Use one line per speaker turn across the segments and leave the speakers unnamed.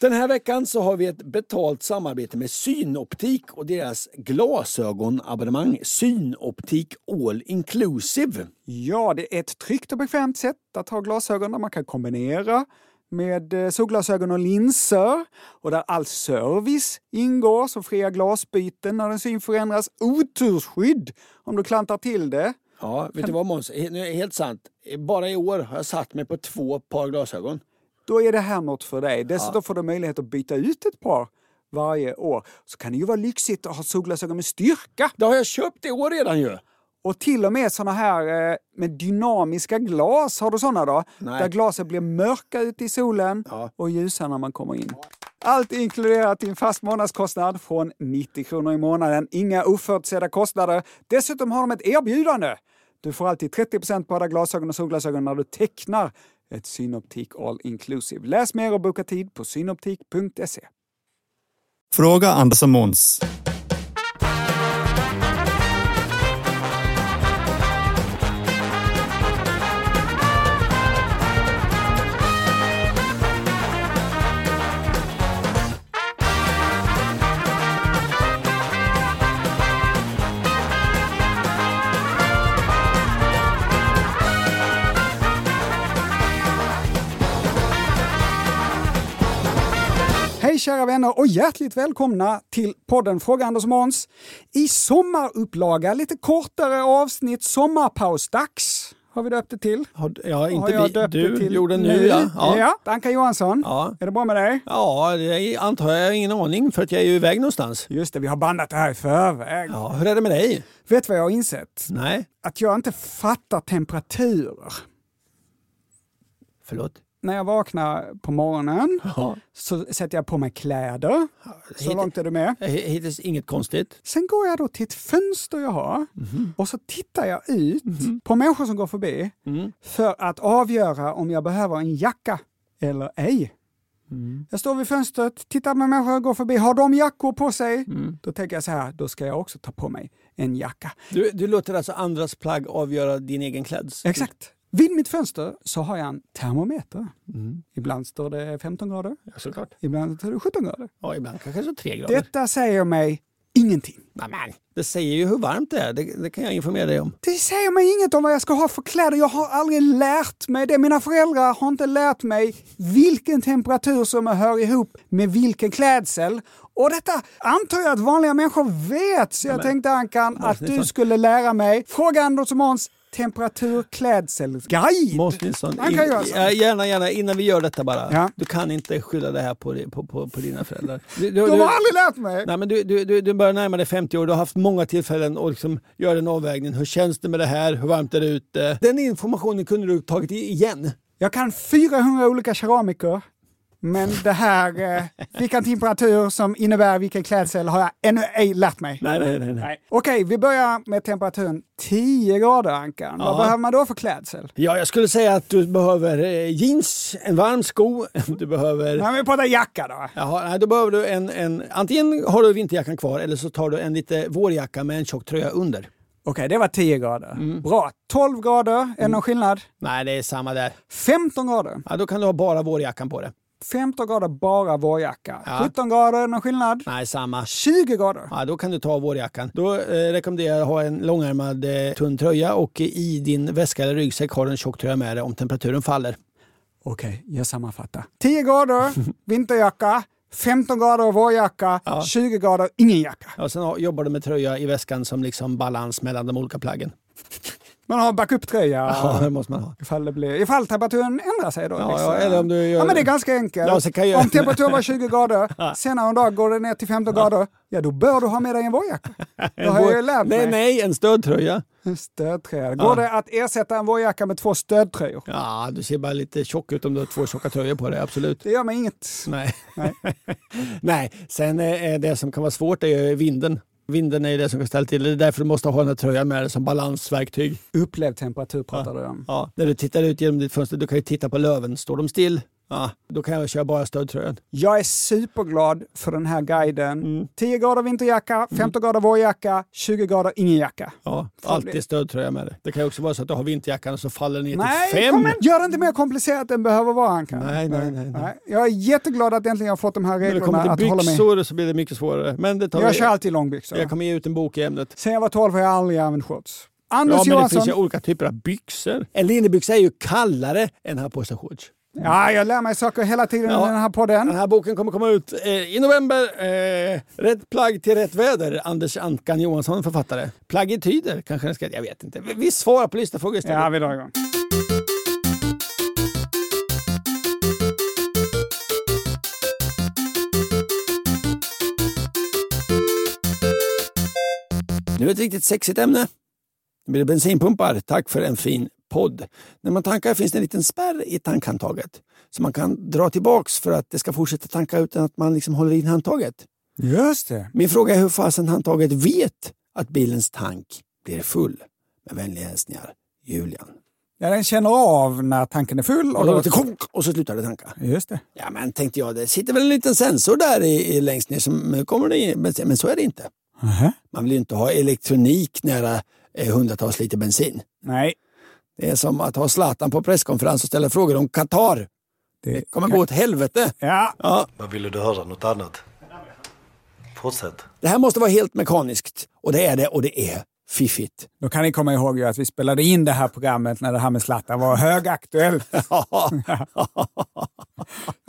Den här veckan så har vi ett betalt samarbete med Synoptik och deras glasögonabonnemang Synoptik All Inclusive.
Ja, det är ett tryggt och bekvämt sätt att ha glasögon där man kan kombinera med eh, solglasögon och linser och där all service ingår som fria glasbyten när din syn förändras, otursskydd om du klantar till det.
Ja, vet du vad Måns? He- nu är det Helt sant. Eh, Bara i år har jag satt mig på två par glasögon.
Då är det här något för dig. Dessutom får du möjlighet att byta ut ett par varje år. Så kan det ju vara lyxigt att ha solglasögon med styrka
Det har jag köpt i år redan ju!
och till och med såna här eh, med dynamiska glas. Har du såna då?
Nej.
Där glasen blir mörka ute i solen och ljusa när man kommer in. Allt inkluderat i en fast månadskostnad från 90 kronor i månaden. Inga oförutsedda kostnader. Dessutom har de ett erbjudande. Du får alltid 30 på alla glasögon och solglasögon när du tecknar ett Synoptik All Inclusive. Läs mer och boka tid på synoptik.se.
Fråga Anders och Måns.
Hej kära vänner och hjärtligt välkomna till podden Fråga Anders och Måns. I sommarupplaga, lite kortare avsnitt, sommarpausdags har vi döpt det till.
ja,
har jag döpt det till Ja. Anka Johansson,
Ja.
är det bra med dig?
Ja, det antar jag ingen aning för att jag är ju iväg någonstans.
Just det, vi har bandat det här i förväg.
Ja, hur är det med dig?
Vet du vad jag har insett?
Nej,
Att jag inte fattar temperaturer.
förlåt.
När jag vaknar på morgonen
Ja.
så sätter jag på mig kläder. Så långt är du med.
H- Eh, Hittills inget konstigt.
Sen går jag då till ett fönster jag har och så tittar jag ut på människor som går förbi för att avgöra om jag behöver en jacka eller ej. Jag står vid fönstret, tittar med människor som går förbi. Har de jackor på sig? Då tänker jag så här, då ska jag också ta på mig en jacka.
Du, du låter alltså andras plagg avgöra din egen klädsel?
Exakt. Vid mitt fönster så har jag en termometer. Ibland står det 15 grader,
Ja, såklart.
ibland står det 17 grader.
Ja, ibland kanske så tre grader.
Detta säger mig ingenting.
Nämen, det säger ju hur varmt det är. Det, det kan jag informera dig om.
Det säger mig inget om vad jag ska ha för kläder. Jag har aldrig lärt mig det. Mina föräldrar har inte lärt mig vilken temperatur som hör ihop med vilken klädsel. Och detta antar jag att vanliga människor vet, så jag tänkte Ankan att du skulle lära mig. Fråga Anders och Måns temperatur, klädsel, guide.
Måns Nilsson,
Han kan göra så.
ja, gärna, gärna, innan vi gör detta bara.
Ja.
Du kan inte skylla det här på, di- på, på, på dina föräldrar. Du, du, du,
De har aldrig lärt mig.
nej, men du, du, du, du börjar närma dig 50 år, du har haft många tillfällen att liksom göra en avvägning. Hur känns det med det här? Hur varmt är det ute? Den informationen kunde du tagit i- igen.
Jag kan 400 olika keramiker, men det här, eh, vilken temperatur som innebär vilken klädsel har jag ännu ej lärt mig.
Nej, nej, nej. nej.
Okej, vi börjar med temperaturen 10 grader Ankan. Vad behöver man då för klädsel?
Ja, jag skulle säga att du behöver eh, jeans, en varm sko, du behöver
Nej, vi pratar jacka då.
Jaha, nej, då behöver du en, en... Antingen har du vinterjackan kvar eller så tar du en lite vårjacka med en tjock tröja under.
Okej, det var 10 grader.
Mm.
Bra. 12 grader, är det någon skillnad?
Nej, det är samma där.
15 grader.
Ja, då kan du ha bara vårjackan på dig.
15 grader, bara vårjacka. 17 grader, är det någon skillnad?
Nej, samma.
20 grader.
Ja, då kan du ta vårjackan. Då eh, rekommenderar jag att ha en långärmad eh, tunn tröja och i din väska eller ryggsäck har du en tjock tröja med dig om temperaturen faller.
Okej, jag sammanfattar. 10 grader, vinterjacka. 15 grader, vårjacka. 20 grader, ingen jacka.
Ja, sen har, jobbar du med tröja i väskan som liksom balans mellan de olika plaggen.
Man har backuptröja
Ja, det måste man ha.
ifall, det blir, ifall temperaturen ändrar sig då.
Ja, ja, eller om du gör-
ja men det är ganska enkelt.
Ja, så kan jag-
Om temperaturen var 20 grader, senare en dag går det ner till 15 grader, ja då bör du ha med dig en vårjacka. Det har jag ju lärt
nej,
mig.
nej, en stödtröja.
En stödtröja. Går det att ersätta en vårjacka med två stödtröjor?
Ja, du ser bara lite tjock ut om du har två tjocka tröjor på dig, absolut.
Det gör mig inget.
Nej. Nej, sen eh, det som kan vara svårt är ju vinden. Vinden är ju det som kan ställa till det. Det är därför du måste ha den här tröjan med dig som balansverktyg.
Upplevd temperatur pratar du om.
Ja. När du tittar ut genom ditt fönster, du kan ju titta på löven. Står de still, ja, då kan jag köra bara stödtröjan.
Jag är superglad för den här guiden.
Mm.
10 grader vinterjacka, 15 grader vårjacka, 20 grader ingen jacka.
Ja,
blir-
alltid stödtröja med dig. Det kan ju också vara så att du har vinterjackan och så faller den ner
Nej,
till fem.
kom igen, gör det inte mer komplicerat än behöver vara Ankan.
Nej, nej, nej, nej.
Jag är jätteglad att äntligen har fått de här
När det
reglerna
kommer
att
till
hålla med.
byxor så blir det mycket svårare. Men det tar
Jag
vi.
kör alltid långbyxor.
jag kommer ge ut en bok i ämnet.
Sen jag var 12 har jag aldrig använt shorts. Anders
Ja, men det
Johansson.
finns ju olika typer av byxor. En linnebyxa är ju kallare än här på sig shorts.
Ja, jag lär mig saker hela tiden
Ja.
i den här podden.
Den här boken kommer komma ut eh, i november. Eh, rätt plagg till rätt väder. Anders Ankan Johansson, författare. Plaggetyder kanske den ska Jag vet inte. Vi- Vi svarar på lyssnarfrågor istället.
Ja, vi drar igång.
Nu är det ett riktigt sexigt ämne. Nu blir det bensinpumpar. Tack för en fin podd. När man tankar finns det en liten spärr i tankhandtaget som man kan dra tillbaks för att det ska fortsätta tanka utan att man liksom håller in handtaget.
Just det.
Min fråga är hur fasen handtaget vet att bilens tank blir full. Med vänliga hälsningar, Julian.
Ja, den känner av när tanken är full.
Och,
Och
då
då...
låter det konk, och så slutar det tanka.
Just det.
Ja, men tänkte jag, det sitter väl en liten sensor där i, i längst ner som nu kommer det in. Men, men så är det inte.
Aha.
Man vill ju inte ha elektronik nära eh, hundratals liter bensin.
Nej.
Det är som att ha Zlatan på presskonferens och ställa frågor om Qatar.
Det...
kommer gå åt helvete.
Ja,
Ja,
Vad ville du höra? Något annat? Fortsätt.
det här måste vara helt mekaniskt. Och det är det, och det är fiffigt.
då kan ni komma ihåg ju att vi spelade in det här programmet när det här med Zlatan var högaktuellt.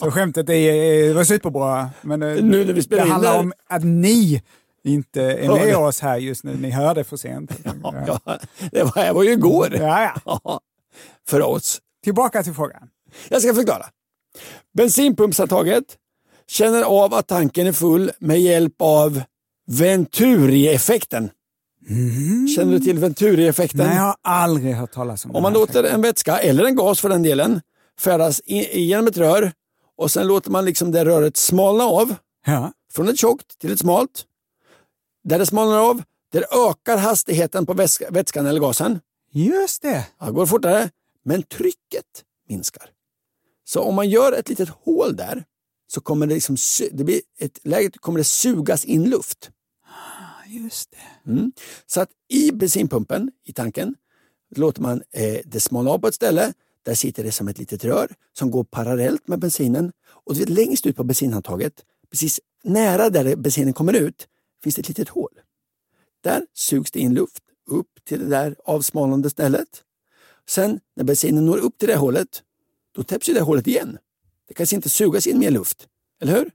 Så skämtet är, det var superbra. Men eh,
Nu när vi spelar
det
in
handlar
där.
om att ni inte är
Hör
med
det.
oss här just nu. Ni hörde för sent.
Ja, det var, det var ju igår.
Ja, ja.
Ja, för oss.
Tillbaka till frågan.
Jag ska förklara. Bensinpumpshandtaget känner av att tanken är full med hjälp av Venturi-effekten. Känner du till Venturi-effekten?
Mm. Nej, jag har aldrig hört talas om
Om man
det här.
låter en vätska, eller en gas för den delen, färdas i- genom ett rör och sen låter man liksom det röret smalna av
Ja.
från ett tjockt till ett smalt. Där det smalnar av, där ökar hastigheten på väs- vätskan eller gasen.
Just det.
Ja, Det går fortare, men trycket minskar. Så om man gör ett litet hål där så kommer det, liksom, su- det, blir ett läge, kommer det sugas in luft.
Just det.
Mm. Så att i bensinpumpen, i tanken, låter man eh, det smalna av på ett ställe. Där sitter det som ett litet rör som går parallellt med bensinen. Och du vet, längst ut på bensinhandtaget, precis nära där bensinen kommer ut, finns det ett litet hål. Där sugs det in luft upp till det där avsmalnande stället. Sen när bensinen når upp till det hålet, då täpps ju det hålet igen. Det kanske inte sugas in mer luft, eller hur?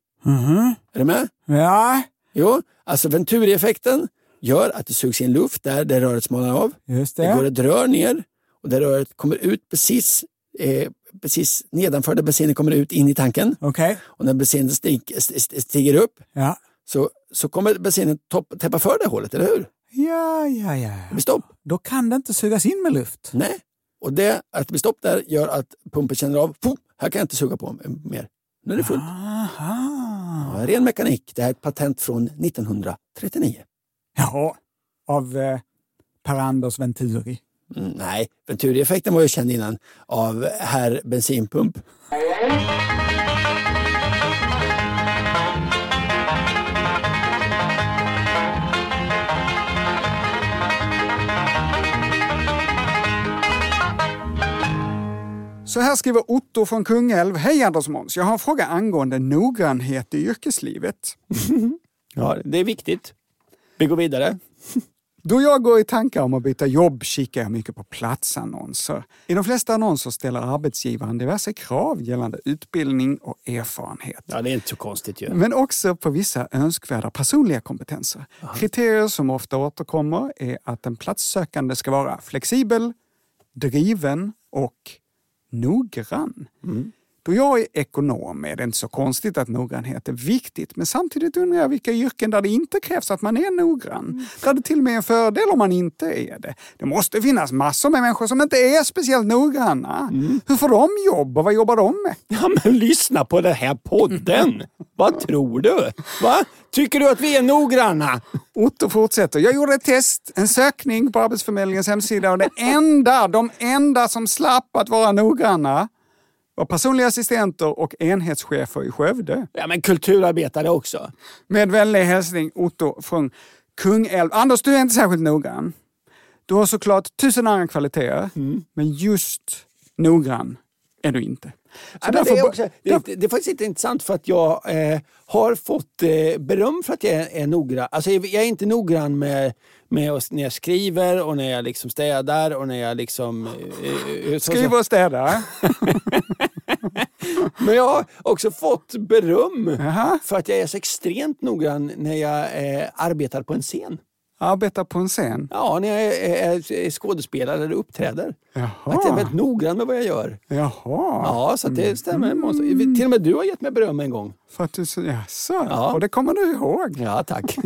Är du med?
Ja,
Jo, alltså Venturi-effekten gör att det sugs in luft där det röret smalnar av.
just
Det går
det.
ett rör ner och det röret kommer ut precis, eh, precis nedanför där bensinen kommer ut in i tanken.
Okej.
Och när bensinen stig, st- st- stiger upp
Ja.
så, så kommer bensinen topp, täppa för det hålet, eller hur?
Ja, ja, ja.
Det blir stopp.
Då kan det inte sugas in med luft.
Nej. Och det, att det blir stopp där gör att pumpen känner av, "Puh, här kan jag inte suga på m- mer. Nu är det fullt.
Aha.
Ja, ren mekanik. Det här är ett patent från 1939.
Ja, av eh, Per-Anders Venturi.
Mm, nej, Venturi-effekten var ju känd innan av herr bensinpump.
Så här skriver Otto från Kungälv. Hej Anders och Måns, jag har en fråga angående noggrannhet i yrkeslivet.
Ja, det är viktigt. Vi går vidare.
Då jag går i tankar om att byta jobb kikar jag mycket på platsannonser. I de flesta annonser ställer arbetsgivaren diverse krav gällande utbildning och erfarenhet.
Ja, det är inte så konstigt ju.
Men också på vissa önskvärda personliga kompetenser. Kriterier som ofta återkommer är att den platssökande ska vara flexibel, driven och noggrann. Då jag är ekonom är det inte så konstigt att noggrannhet är viktigt. Men samtidigt undrar jag vilka yrken där det inte krävs att man är noggrann. Där det till och med är en fördel om man inte är det. Det måste finnas massor med människor som inte är speciellt noggranna. Hur får de jobb och vad jobbar de med?
Ja, men lyssna på den här podden! Vad tror du? Va? Tycker du att vi är noggranna?
Otto fortsätter. Jag gjorde ett test, en sökning på Arbetsförmedlingens hemsida och det enda, de enda som slapp att vara noggranna var personliga assistenter och enhetschefer i Skövde.
Ja, men kulturarbetare också.
Med vänlig hälsning Otto från Kungälv. Anders, du är inte särskilt noggrann. Du har såklart tusen andra kvaliteter,
Mm.
men just noggrann är du inte. Så
Ja, men det,
därför
är
bo-
också, det, det är faktiskt inte intressant för att jag eh, har fått eh, beröm för att jag är, är noggrann. Alltså, jag jag är inte noggrann med, med oss när jag skriver och när jag liksom städar och när jag liksom... Eh, eh, så,
Skriv
så.
och städa.
Men jag har också fått beröm
Jaha.
för att jag är så extremt noggrann när jag eh, arbetar på en scen.
Arbeta på en scen.
Ja, när jag eh, är, är, är skådespelare eller uppträder. Att jag är
Jaha.
väldigt noggrann med vad jag gör.
Jaha.
Ja, så att det stämmer. Måns. Till och med du har gett mig beröm en gång.
För att du... så- Jaså?
Ja.
Och det kommer du ihåg?
Ja, tack.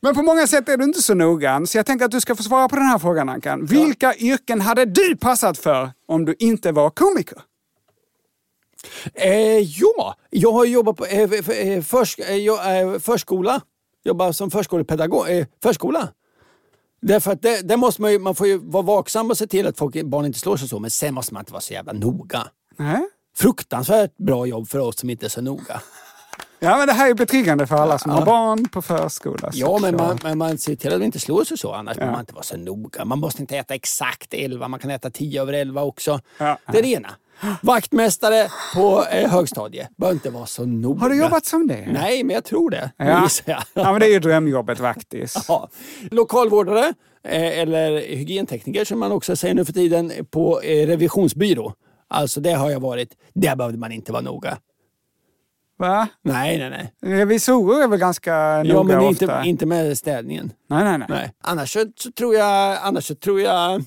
Men på många sätt är du inte så noggrann, så jag tänker att du ska få svara på den här frågan, Ankan. Vilka yrken hade du passat för om du inte var komiker?
Eh, ja, jag har jobbat på eh, f- eh, förs, eh, jag, eh, förskola. Jobbar som förskolepedagog. Eh, förskola. Därför att det, det måste man, ju, man får ju vara vaksam och se till att folk, barn inte slår sig så, men sen måste man inte vara så jävla noga.
Nej?
Fruktansvärt bra jobb för oss som inte är så noga.
Ja, men det här är betryggande för alla som har barn på förskola.
Ja, men
såklart.
man, men man ser till att inte slår sig så, annars behöver man inte vara så noga. Man måste inte äta exakt 11, man kan äta 10 över 11 också.
Ja.
Det är det ena. Vaktmästare på eh, högstadiet behöver inte vara så noga.
Har du jobbat som det?
Nej, men jag tror det. Det
Ja.
gissar
ja,
jag.
men det är ju drömjobbet vaktis.
Ja. Lokalvårdare eh, eller hygientekniker som man också säger nu för tiden på eh, revisionsbyrå. Alltså det har jag varit. Där behövde man inte vara noga.
Va?
Nej, nej, nej.
Revisorer är väl ganska
Ja,
noga
men inte,
ofta?
inte med städningen.
Nej, nej, nej.
Nej. Annars så, så tror jag... Annars så tror jag...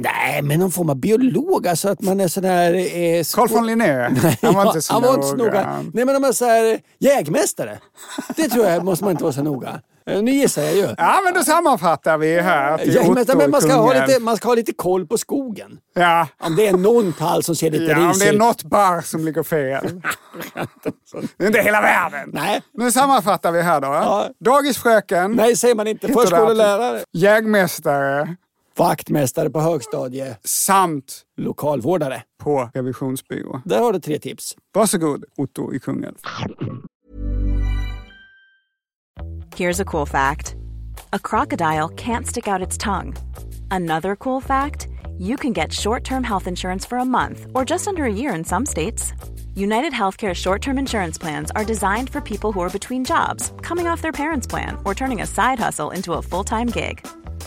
Nej, men någon form av biolog. Alltså att man är sån här... Eh,
Carl von Linné, han var inte så
han var inte så noga.
noggrann.
Nej, men om man säger jägmästare. Det tror jag måste man inte vara så noga. Eh, Nu gissar jag ju.
Ja, men då sammanfattar vi här till
Ja, men,
Otto
men man, ska ha
Kungälv.
lite, man ska ha lite koll på skogen.
Ja.
Om det är någon tall som ser lite
Ja, om
risig
det är
ut.
något barr som ligger fel. det är inte hela världen.
Nej.
Nu sammanfattar vi här då. Dagisfröken,
Nej, säger man inte.
Hittar du
Förskolelärare.
jägmästare
Vaktmästare på högstadie.
samt
Lokalvårdare.
på revisionsbyrå.
Där har du tre tips.
Varsågod, Otto i Kungälv.
Here's a cool fact a crocodile can't stick out its tongue. Another cool fact you can get short term health insurance for a month or just under a year in some states. United Healthcare short term insurance plans are designed for people who are between jobs, coming off their parents' plan, or turning a side hustle into a full time gig.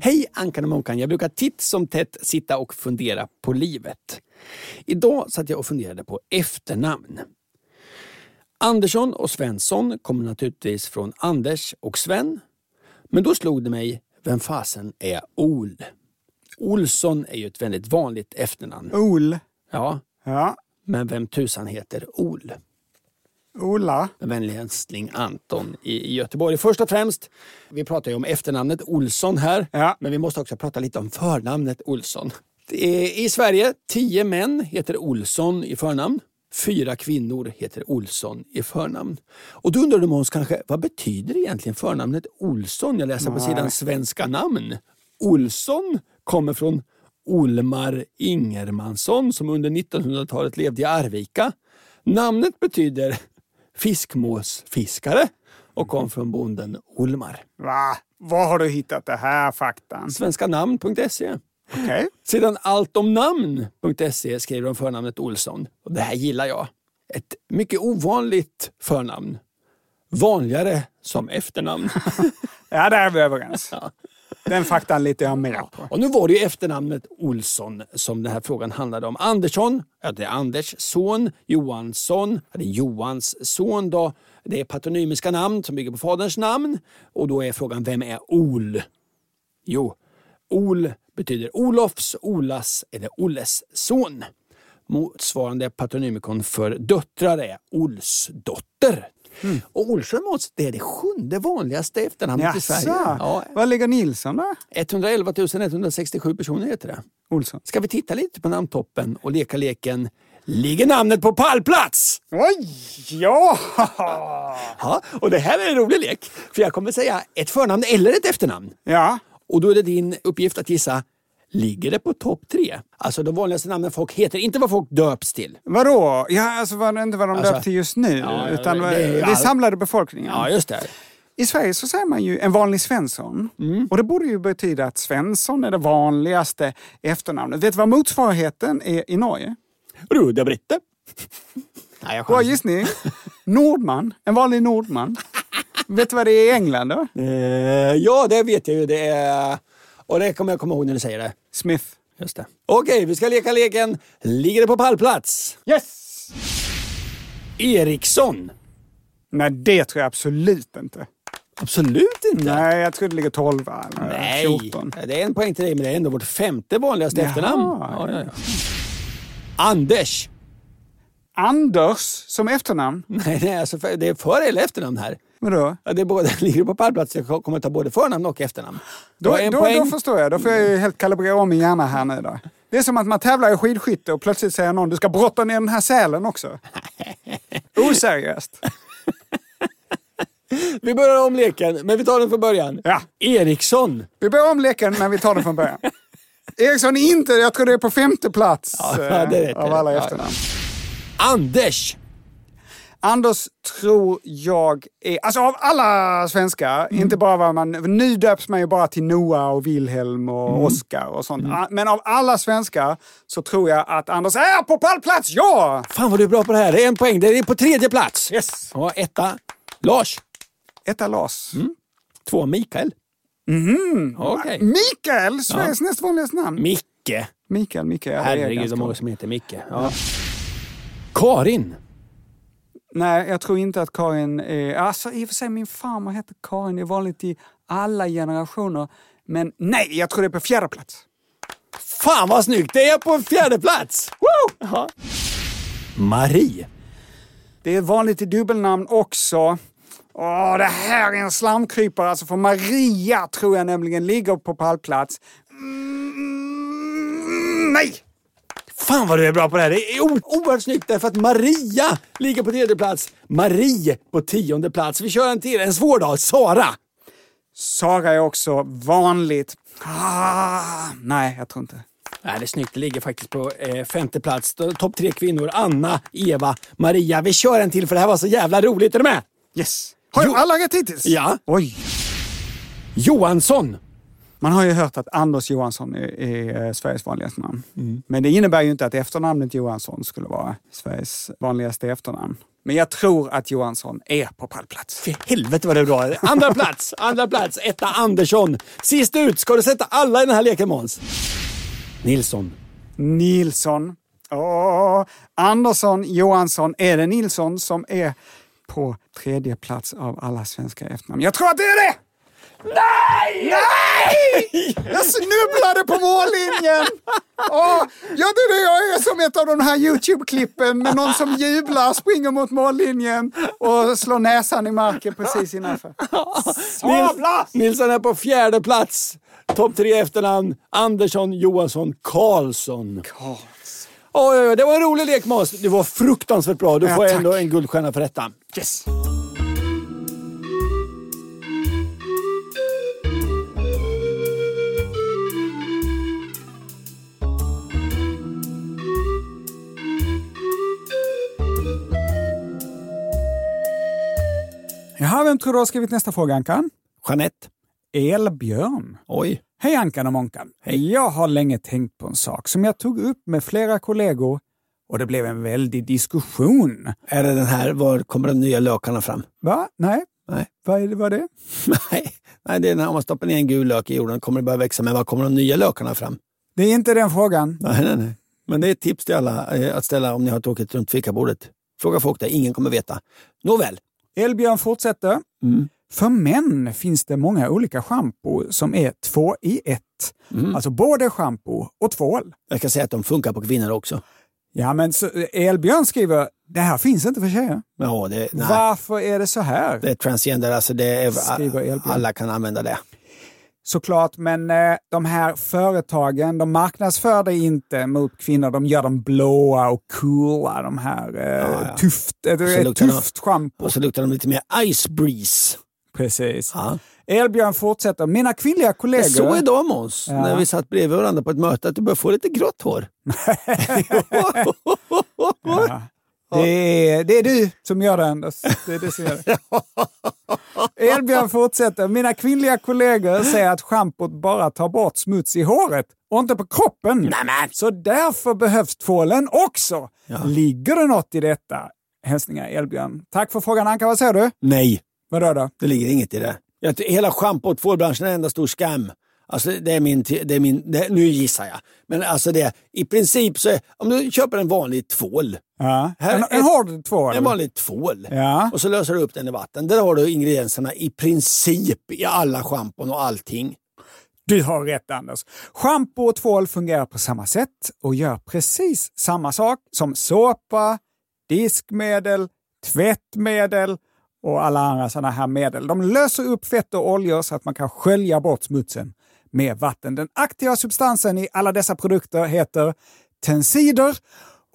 Hej Ankan och Munkan. Jag brukar titt som tätt sitta och fundera på livet. Idag satt jag och funderade på efternamn. Andersson och Svensson kommer naturligtvis från Anders och Sven. Men då slog det mig, vem fasen är Ol? Olsson är ju ett väldigt vanligt efternamn.
Ol.
Ja,
Ja.
men vem tusan heter Ol?
Ola.
Med vänlig hälsning Anton i i Göteborg. Först och främst, vi pratar ju om efternamnet Olsson här,
Ja.
men vi måste också prata lite om förnamnet Olsson. Det är- I Sverige, tio män heter Olsson i förnamn. Fyra kvinnor heter Olsson i förnamn. Och då undrar du Måns kanske, vad betyder egentligen förnamnet Olsson? Jag läser på sidan Svenska namn. Olsson kommer från Olmar Ingermansson som under 1900-talet levde i Arvika. Namnet betyder fiskmåsfiskare och kom från bonden Olmar.
Va? Var har du hittat det här faktan?
Svenskanamn.se
Okej.
Sedan alltomnamn.se skriver de förnamnet Olsson. Och det här gillar jag. Ett mycket ovanligt förnamn. Vanligare som efternamn.
Ja, där är vi överens. Den faktan litar jag mer på.
Och nu var det ju efternamnet Olsson som den här frågan handlade om. Andersson, ja det är Anders son. Johansson, ja, det är Johans son då. Det är patronymiska namn som bygger på faderns namn. Och då är frågan, vem är Ol? Jo, Ol betyder Olofs, Olas eller Olles son. Motsvarande patronymikon för döttrar är Olsdotter. Och Olsson Måns, det är det sjunde vanligaste efternamnet i Sverige.
Jaså?
Ja,
Var ligger Nilsson då?
111 167 personer heter det.
Olsson.
Ska vi titta lite på namntoppen och leka leken Ligger namnet på pallplats?
Oj! Ja!
Ja, och det här är en rolig lek. För jag kommer säga ett förnamn eller ett efternamn.
Ja.
Och då är det din uppgift att gissa Ligger det på topp tre? Alltså de vanligaste namnen folk heter, inte vad folk döps till.
Vadå? Ja, alltså var det inte vad de
Alltså,
döpt till just nu,
ja,
utan
det-
det,
det-
det,
ja.
samlade befolkningen.
Ja, just det.
I Sverige så säger man ju en vanlig Svensson.
Mm.
Och det borde ju betyda att Svensson är det vanligaste efternamnet. Vet du vad motsvarigheten är i Norge?
Ruda Britte. Nej, jag
Bra
chansar.
gissning. Nordman. En vanlig Nordman. Vet du vad det är i England då?
Eh, ja, det vet jag ju. Det är... Och det kommer jag komma ihåg när du säger det.
Smith.
Just det. Okej, vi ska leka leken Ligger det på pallplats?
Yes!
Eriksson.
Nej, det tror jag absolut inte.
Absolut inte.
Nej, jag tror det ligger 12 eller
Nej.
14.
Det är en poäng till dig, men det är ändå vårt femte vanligaste
Jaha.
efternamn. Ja, ja, ja. Anders.
Anders som efternamn.
Nej, nej alltså för, det är för eller efternamn här.
Vadå?
Ja, det är både, ligger på pallplats. Jag kommer ta både förnamn och efternamn.
Då,
är en
då,
poäng.
då förstår jag. Då får jag ju helt kalibrera om min hjärna här nu då. Det är som att man tävlar i skidskytte och plötsligt säger någon du ska brotta ner den här sälen också. Oseriöst.
Vi börjar om leken, men vi tar den från början.
Ja.
Eriksson.
Vi börjar om leken men vi tar den från början. Eriksson är inte, jag tror det är på femte plats
Ja,
eh,
det vet
av
jag.
alla
Ja,
efternamn.
Anders.
Anders tror jag är, alltså av alla svenskar,
Mm.
inte bara vad man, nu döps man ju bara till Noah och Wilhelm och
Mm.
Oscar och sånt. A- Men av alla svenskar så tror jag att Anders är på pallplats, ja!
Fan vad du är bra på det här. Det är en poäng. Det är på tredje plats.
Yes!
Ja, etta. Lars.
Etta Lars.
Två Mikael. Mm. Okej.
Mikael, Sveriges näst vanligaste namn.
Micke.
Mikael, Mikael. det är
Herregud
ganska
vad
bra.
många som heter Micke. Ja. Karin.
Nej, jag tror inte att Karin är... Alltså i och för sig, min farmor heter Karin. Det är vanligt i alla generationer. Men nej, jag tror det är på fjärde plats.
Fan vad snyggt! Det är på fjärde plats! Woo! Marie.
Det är vanligt i dubbelnamn också. Åh, det här är en slamkrypare. Alltså för Maria tror jag nämligen ligger på pallplats. Mm, nej!
Fan vad du är bra på det här. Det är o- oerhört snyggt därför att Maria ligger på tredje plats. Marie på tionde plats. Vi kör en till, en svår dag. Sara.
Sara är också vanligt. Ah, nej, jag tror inte.
Nej, det är snyggt. Det ligger faktiskt på eh, femte plats. Då- Topp tre kvinnor. Anna, Eva, Maria. Vi kör en till för det här var så jävla roligt. Är du med?
Yes. Har
Jo.
jag alla rätt hittills?
Ja.
Oj.
Johansson.
Man har ju hört att Anders Johansson är, är eh, Sveriges vanligaste namn.
Mm.
Men det innebär ju inte att efternamnet Johansson skulle vara Sveriges vanligaste efternamn. Men jag tror att Johansson är på pallplats.
Fy helvete vad det är bra. Andra plats, andra plats. Etta Andersson. Sist ut. Ska du sätta alla i den här leken Måns? Nilsson.
Nilsson. Åh, Andersson Johansson. Är det Nilsson som är på tredje plats av alla svenska efternamn? Jag tror att det är det! Nej! Nej! Jag snubblade på mållinjen! Åh, ja, det är det jag är som ett av de här YouTube-klippen med någon som jublar, springer mot mållinjen och slår näsan i marken precis innanför. Sablas!
Nilsson är på fjärde plats. Topp tre efternamn. Andersson, Johansson, Karlsson. Oj, oj, oj. Det var en rolig lek Måns. Du var fruktansvärt bra. Du
Ja,
får
tack.
ändå en guldstjärna för detta.
Yes. Jaha, vem tror du har skrivit nästa fråga, Ankan?
Jeanette.
Elbjörn.
Oj.
Hej Ankan och Monkan. Jag har länge tänkt på en sak som jag tog upp med flera kollegor och det blev en väldig diskussion.
Är det den här, var kommer de nya lökarna fram?
Va? Nej?
Nej.
Vad är det? Vad är det?
Nej, nej det är när man stoppar ner en gul lök i jorden kommer det börja växa, men var kommer de nya lökarna fram?
Det är inte den frågan.
Nej, nej, nej. Men det är ett tips till alla eh, att ställa om ni har tråkigt runt fikabordet. Fråga folk där, ingen kommer veta. Nåväl,
Elbjörn fortsätter.
Mm.
För män finns det många olika schampo som är två i ett.
Mm.
Alltså både schampo och tvål.
jag kan säga att de funkar på kvinnor också.
Ja, men så, Elbjörn skriver, det här finns inte för tjejer.
Ja, det, nej.
Varför är det så här?
det är transgender, alltså det är,
Skriver Elbjörn.
alla kan använda det.
Såklart, men eh, de här företagen, de marknadsför dig inte mot kvinnor. De gör dem blåa och coola, de här eh, tufft, ett,
så
ett
luktar de-
tufft schampo.
Och så luktar de lite mer ice breeze.
Precis.
Ja.
Elbjörn fortsätter. Mina kvinnliga kollegor...
Jag såg idag Måns, när vi satt bredvid varandra på ett möte, att du börjar få lite grått hår.
Ja. Det är, det är du som gör det, Anders. Det är du som gör det. Elbjörn fortsätter. Mina kvinnliga kollegor säger att schampot bara tar bort smuts i håret och inte på kroppen. Så därför behövs tvålen också. Ligger det något i detta? Hälsningar Elbjörn. Tack för frågan Anka. Vad säger du?
Nej,
Vadå då?
det ligger inget i det. Jag, ty- hela schampo och tvålbranschen är en enda stor skam. Alltså det är min, te- det är min det, nu gissar jag. Men alltså det, i princip så är, om du köper en vanlig tvål,
Ja.
Här
en,
är-
en hård tvål?
en vanlig tvål,
Ja.
och så löser du upp den i vatten. Där har du ingredienserna i princip i alla schampon och allting.
Du har rätt Anders. Schampo och tvål fungerar på samma sätt och gör precis samma sak som såpa, diskmedel, tvättmedel och alla andra sådana här medel. De löser upp fett och oljor så att man kan skölja bort smutsen med vatten. Den aktiva substansen i alla dessa produkter heter tensider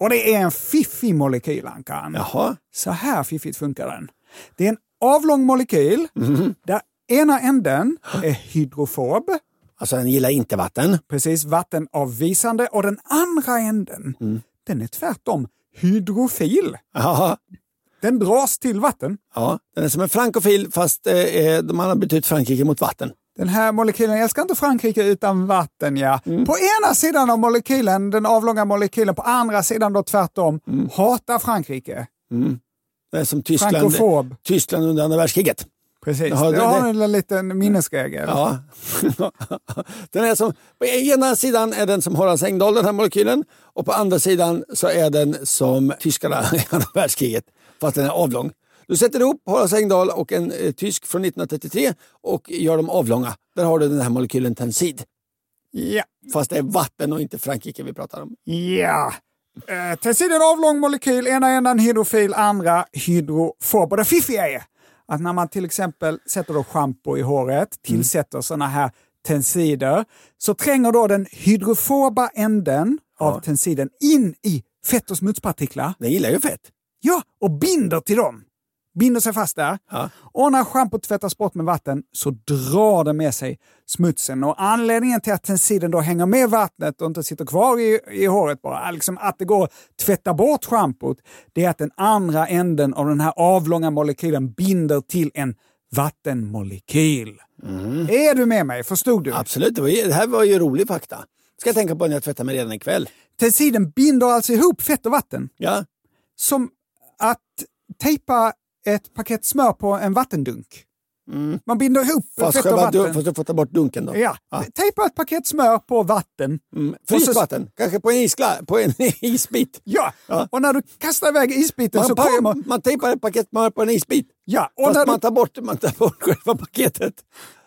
och det är en fiffig molekyl, Ankan.
Jaha.
Så här fiffigt funkar den. Det är en avlång molekyl där ena änden är hydrofob,
Alltså den gillar inte vatten.
precis vattenavvisande, och den andra änden,
Mm.
den är tvärtom hydrofil.
Jaha.
Den dras till vatten.
Ja, den är som en frankofil fast eh, eh, man har bytt ut Frankrike mot vatten.
Den här molekylen älskar inte Frankrike utan vatten, ja.
Mm.
På ena sidan av molekylen, den avlånga molekylen, på andra sidan då tvärtom,
Mm.
hatar Frankrike.
Det är som Tyskland,
Frankofob.
Tyskland under andra världskriget.
Precis,
Jaha,
det
det-
har
det-
en liten minnesregel.
Ja. den är som, på ena sidan är den som Horace Engdahl, den här molekylen. Och på andra sidan så är den som tyskarna i andra världskriget, fast den är avlång. Du sätter ihop Horace Engdahl och en eh, tysk från 1933 och gör dem avlånga. Där har du den här molekylen tensid.
Ja.
Fast det är vatten och inte Frankrike vi pratar om.
Ja. Eh, Tensider är en avlång molekyl, ena änden hydrofil, andra hydrofob. Och det fiffiga är att när man till exempel sätter då schampo i håret, tillsätter såna här tensider, så tränger då den hydrofoba änden av tensiden in i fett och smutspartiklar.
Den gillar ju fett.
Ja, och binder till dem. Binder sig fast där. Och när schampot tvättas bort med vatten så drar det med sig smutsen. Och anledningen till att tensiden då hänger med vattnet och inte sitter kvar i, i håret bara, liksom att det går att tvätta bort schampot, det är att den andra änden av den här avlånga molekylen binder till en vattenmolekyl. Är du med mig? Förstod du?
Absolut, det, var ju, det här var ju rolig fakta. Ska jag tänka på när jag tvättar mig redan ikväll.
Tensiden binder alltså ihop fett och vatten.
Ja,
som att tejpa ett paket smör på en vattendunk.
Mm.
Man binder ihop
fast,
fett och
själva, du,
vatten.
fast du får ta bort dunken då.
Ja. Tejpa ett paket smör på vatten.
Mm. Fryst
Och så-
vatten, kanske på en, iskla, på en isbit.
Ja.
Ja.
och när du kastar iväg isbiten
Man,
så
pa,
börjar
man,
man...
tejpar ett paket smör på en isbit.
Ja, och när
Fast
du-
man tar, bort, man tar bort själva paketet.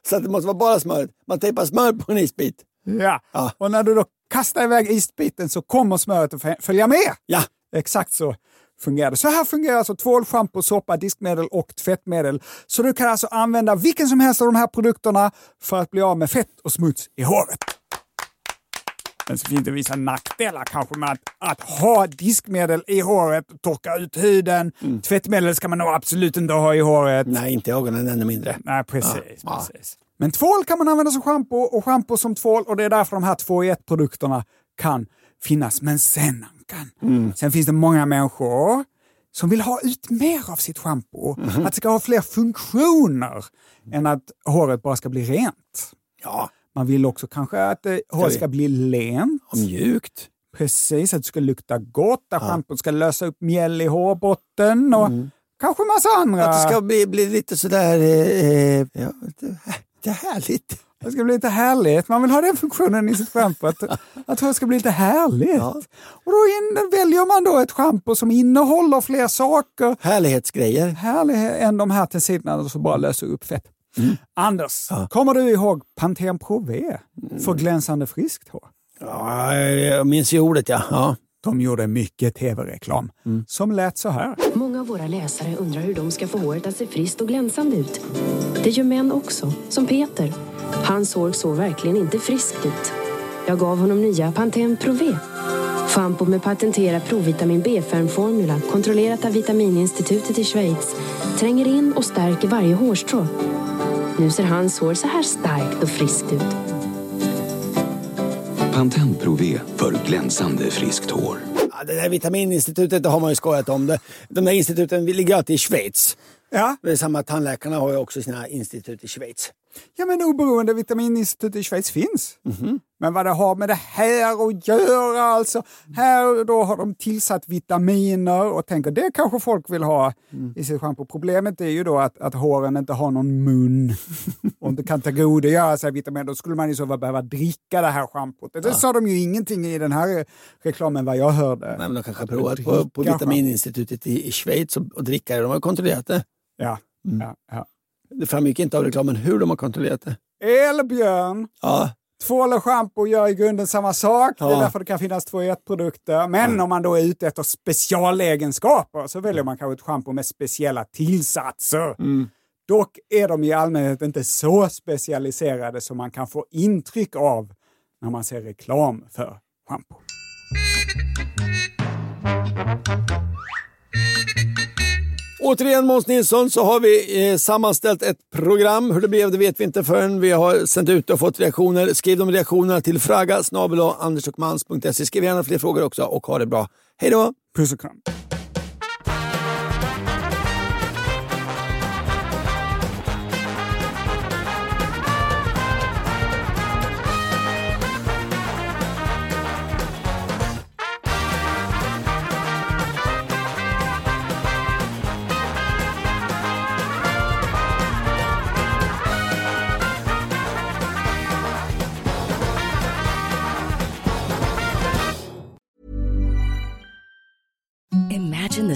Så att det måste vara bara smöret. Man tejpar smör på en isbit.
Ja.
Ja.
Och när du då kastar iväg isbiten så kommer smöret att fä- följa med.
Ja,
Exakt så fungerar det. Så här fungerar alltså tvål, schampo, soppa, diskmedel och tvättmedel. Så du kan alltså använda vilken som helst av de här produkterna för att bli av med fett och smuts i håret. Men så finns det vissa nackdelar kanske med att, att ha diskmedel i håret, torka ut huden. Tvättmedel ska man nog absolut inte ha i håret.
nej inte i ögonen ännu mindre.
Nej, precis. precis. Men tvål kan man använda som schampo och schampo som tvål och det är därför de här två i ett-produkterna kan finnas. Men sen, Ankan,
Mm.
sen finns det många människor som vill ha ut mer av sitt schampo.
Mhm.
Att det ska ha fler funktioner än att håret bara ska bli rent.
Ja,
Man vill också kanske att eh, håret ska bli lent.
och mjukt.
Precis, att det ska lukta gott, att schampot ska lösa upp mjäll i hårbotten och kanske massa andra.
Mm. Att det ska bli, bli lite sådär... Eh, eh, ja, det, det är härligt.
Det ska bli lite härligt. Man vill ha den funktionen i sitt schampo, att, att det ska bli lite härligt. Och då in, väljer man då ett schampo som innehåller fler saker
Härlighetsgrejer.
härligare än de här tensiderna som bara löser upp fett. Anders, kommer du ihåg Pantene Pro V för glänsande friskt hår?
Ja, jag minns ju ordet ja. ja. Mm.
De gjorde mycket tv-reklam som lät så här.
Många av våra läsare undrar hur de ska få håret att se friskt och glänsande ut. Det gör män också, som Peter. Hans hår såg verkligen inte friskt ut. Jag gav honom nya Pantene Pro V. Schampo med patenterad provitamin B5-formula kontrollerat av Vitamininstitutet i Schweiz tränger in och stärker varje hårstrå. Nu ser hans hår så här starkt och friskt ut.
Pantene för glänsande friskt hår.
Ja, Det där vitamininstitutet, det har man ju skojat om. Det. De där instituten vi ligger alltid i Schweiz.
Ja,
Det är samma, tandläkarna har ju också sina institut i Schweiz.
ja men oberoende vitamininstitut i Schweiz finns. Men vad det har med det här att göra alltså. Här då har de tillsatt vitaminer och tänker det kanske folk vill ha i sitt schampo. Problemet är ju då att, att håren inte har någon mun och inte kan tillgodogöra sig vitaminer. Då skulle man ju så fall behöva dricka det här schampot. Det sa de ju ingenting i den här reklamen vad jag hörde.
Nej, men de kanske har
Att man
provat på, på
dricker
vitamininstitutet i, i Schweiz och, och dricka det. De har kontrollerat det.
Ja, ja, ja.
Det framgick inte av reklamen hur de har kontrollerat det.
Elbjörn!
Ja,
Tvål och schampo gör i grunden samma sak. Det är
Ja.
därför det kan finnas två i ett produkter. Men om man då är ute efter specialegenskaper så väljer man kanske ett schampo med speciella tillsatser. Dock är de i allmänhet inte så specialiserade som man kan få intryck av när man ser reklam för schampo.
Återigen Måns Nilsson så har vi eh, sammanställt ett program. Hur det blev det vet vi inte förrän vi har sänt ut och fått reaktioner. Skriv de reaktionerna till fragga snabel andersochmans.se. Skriv gärna fler frågor också och ha det bra. Hej då!
Puss och kram.
Imagine the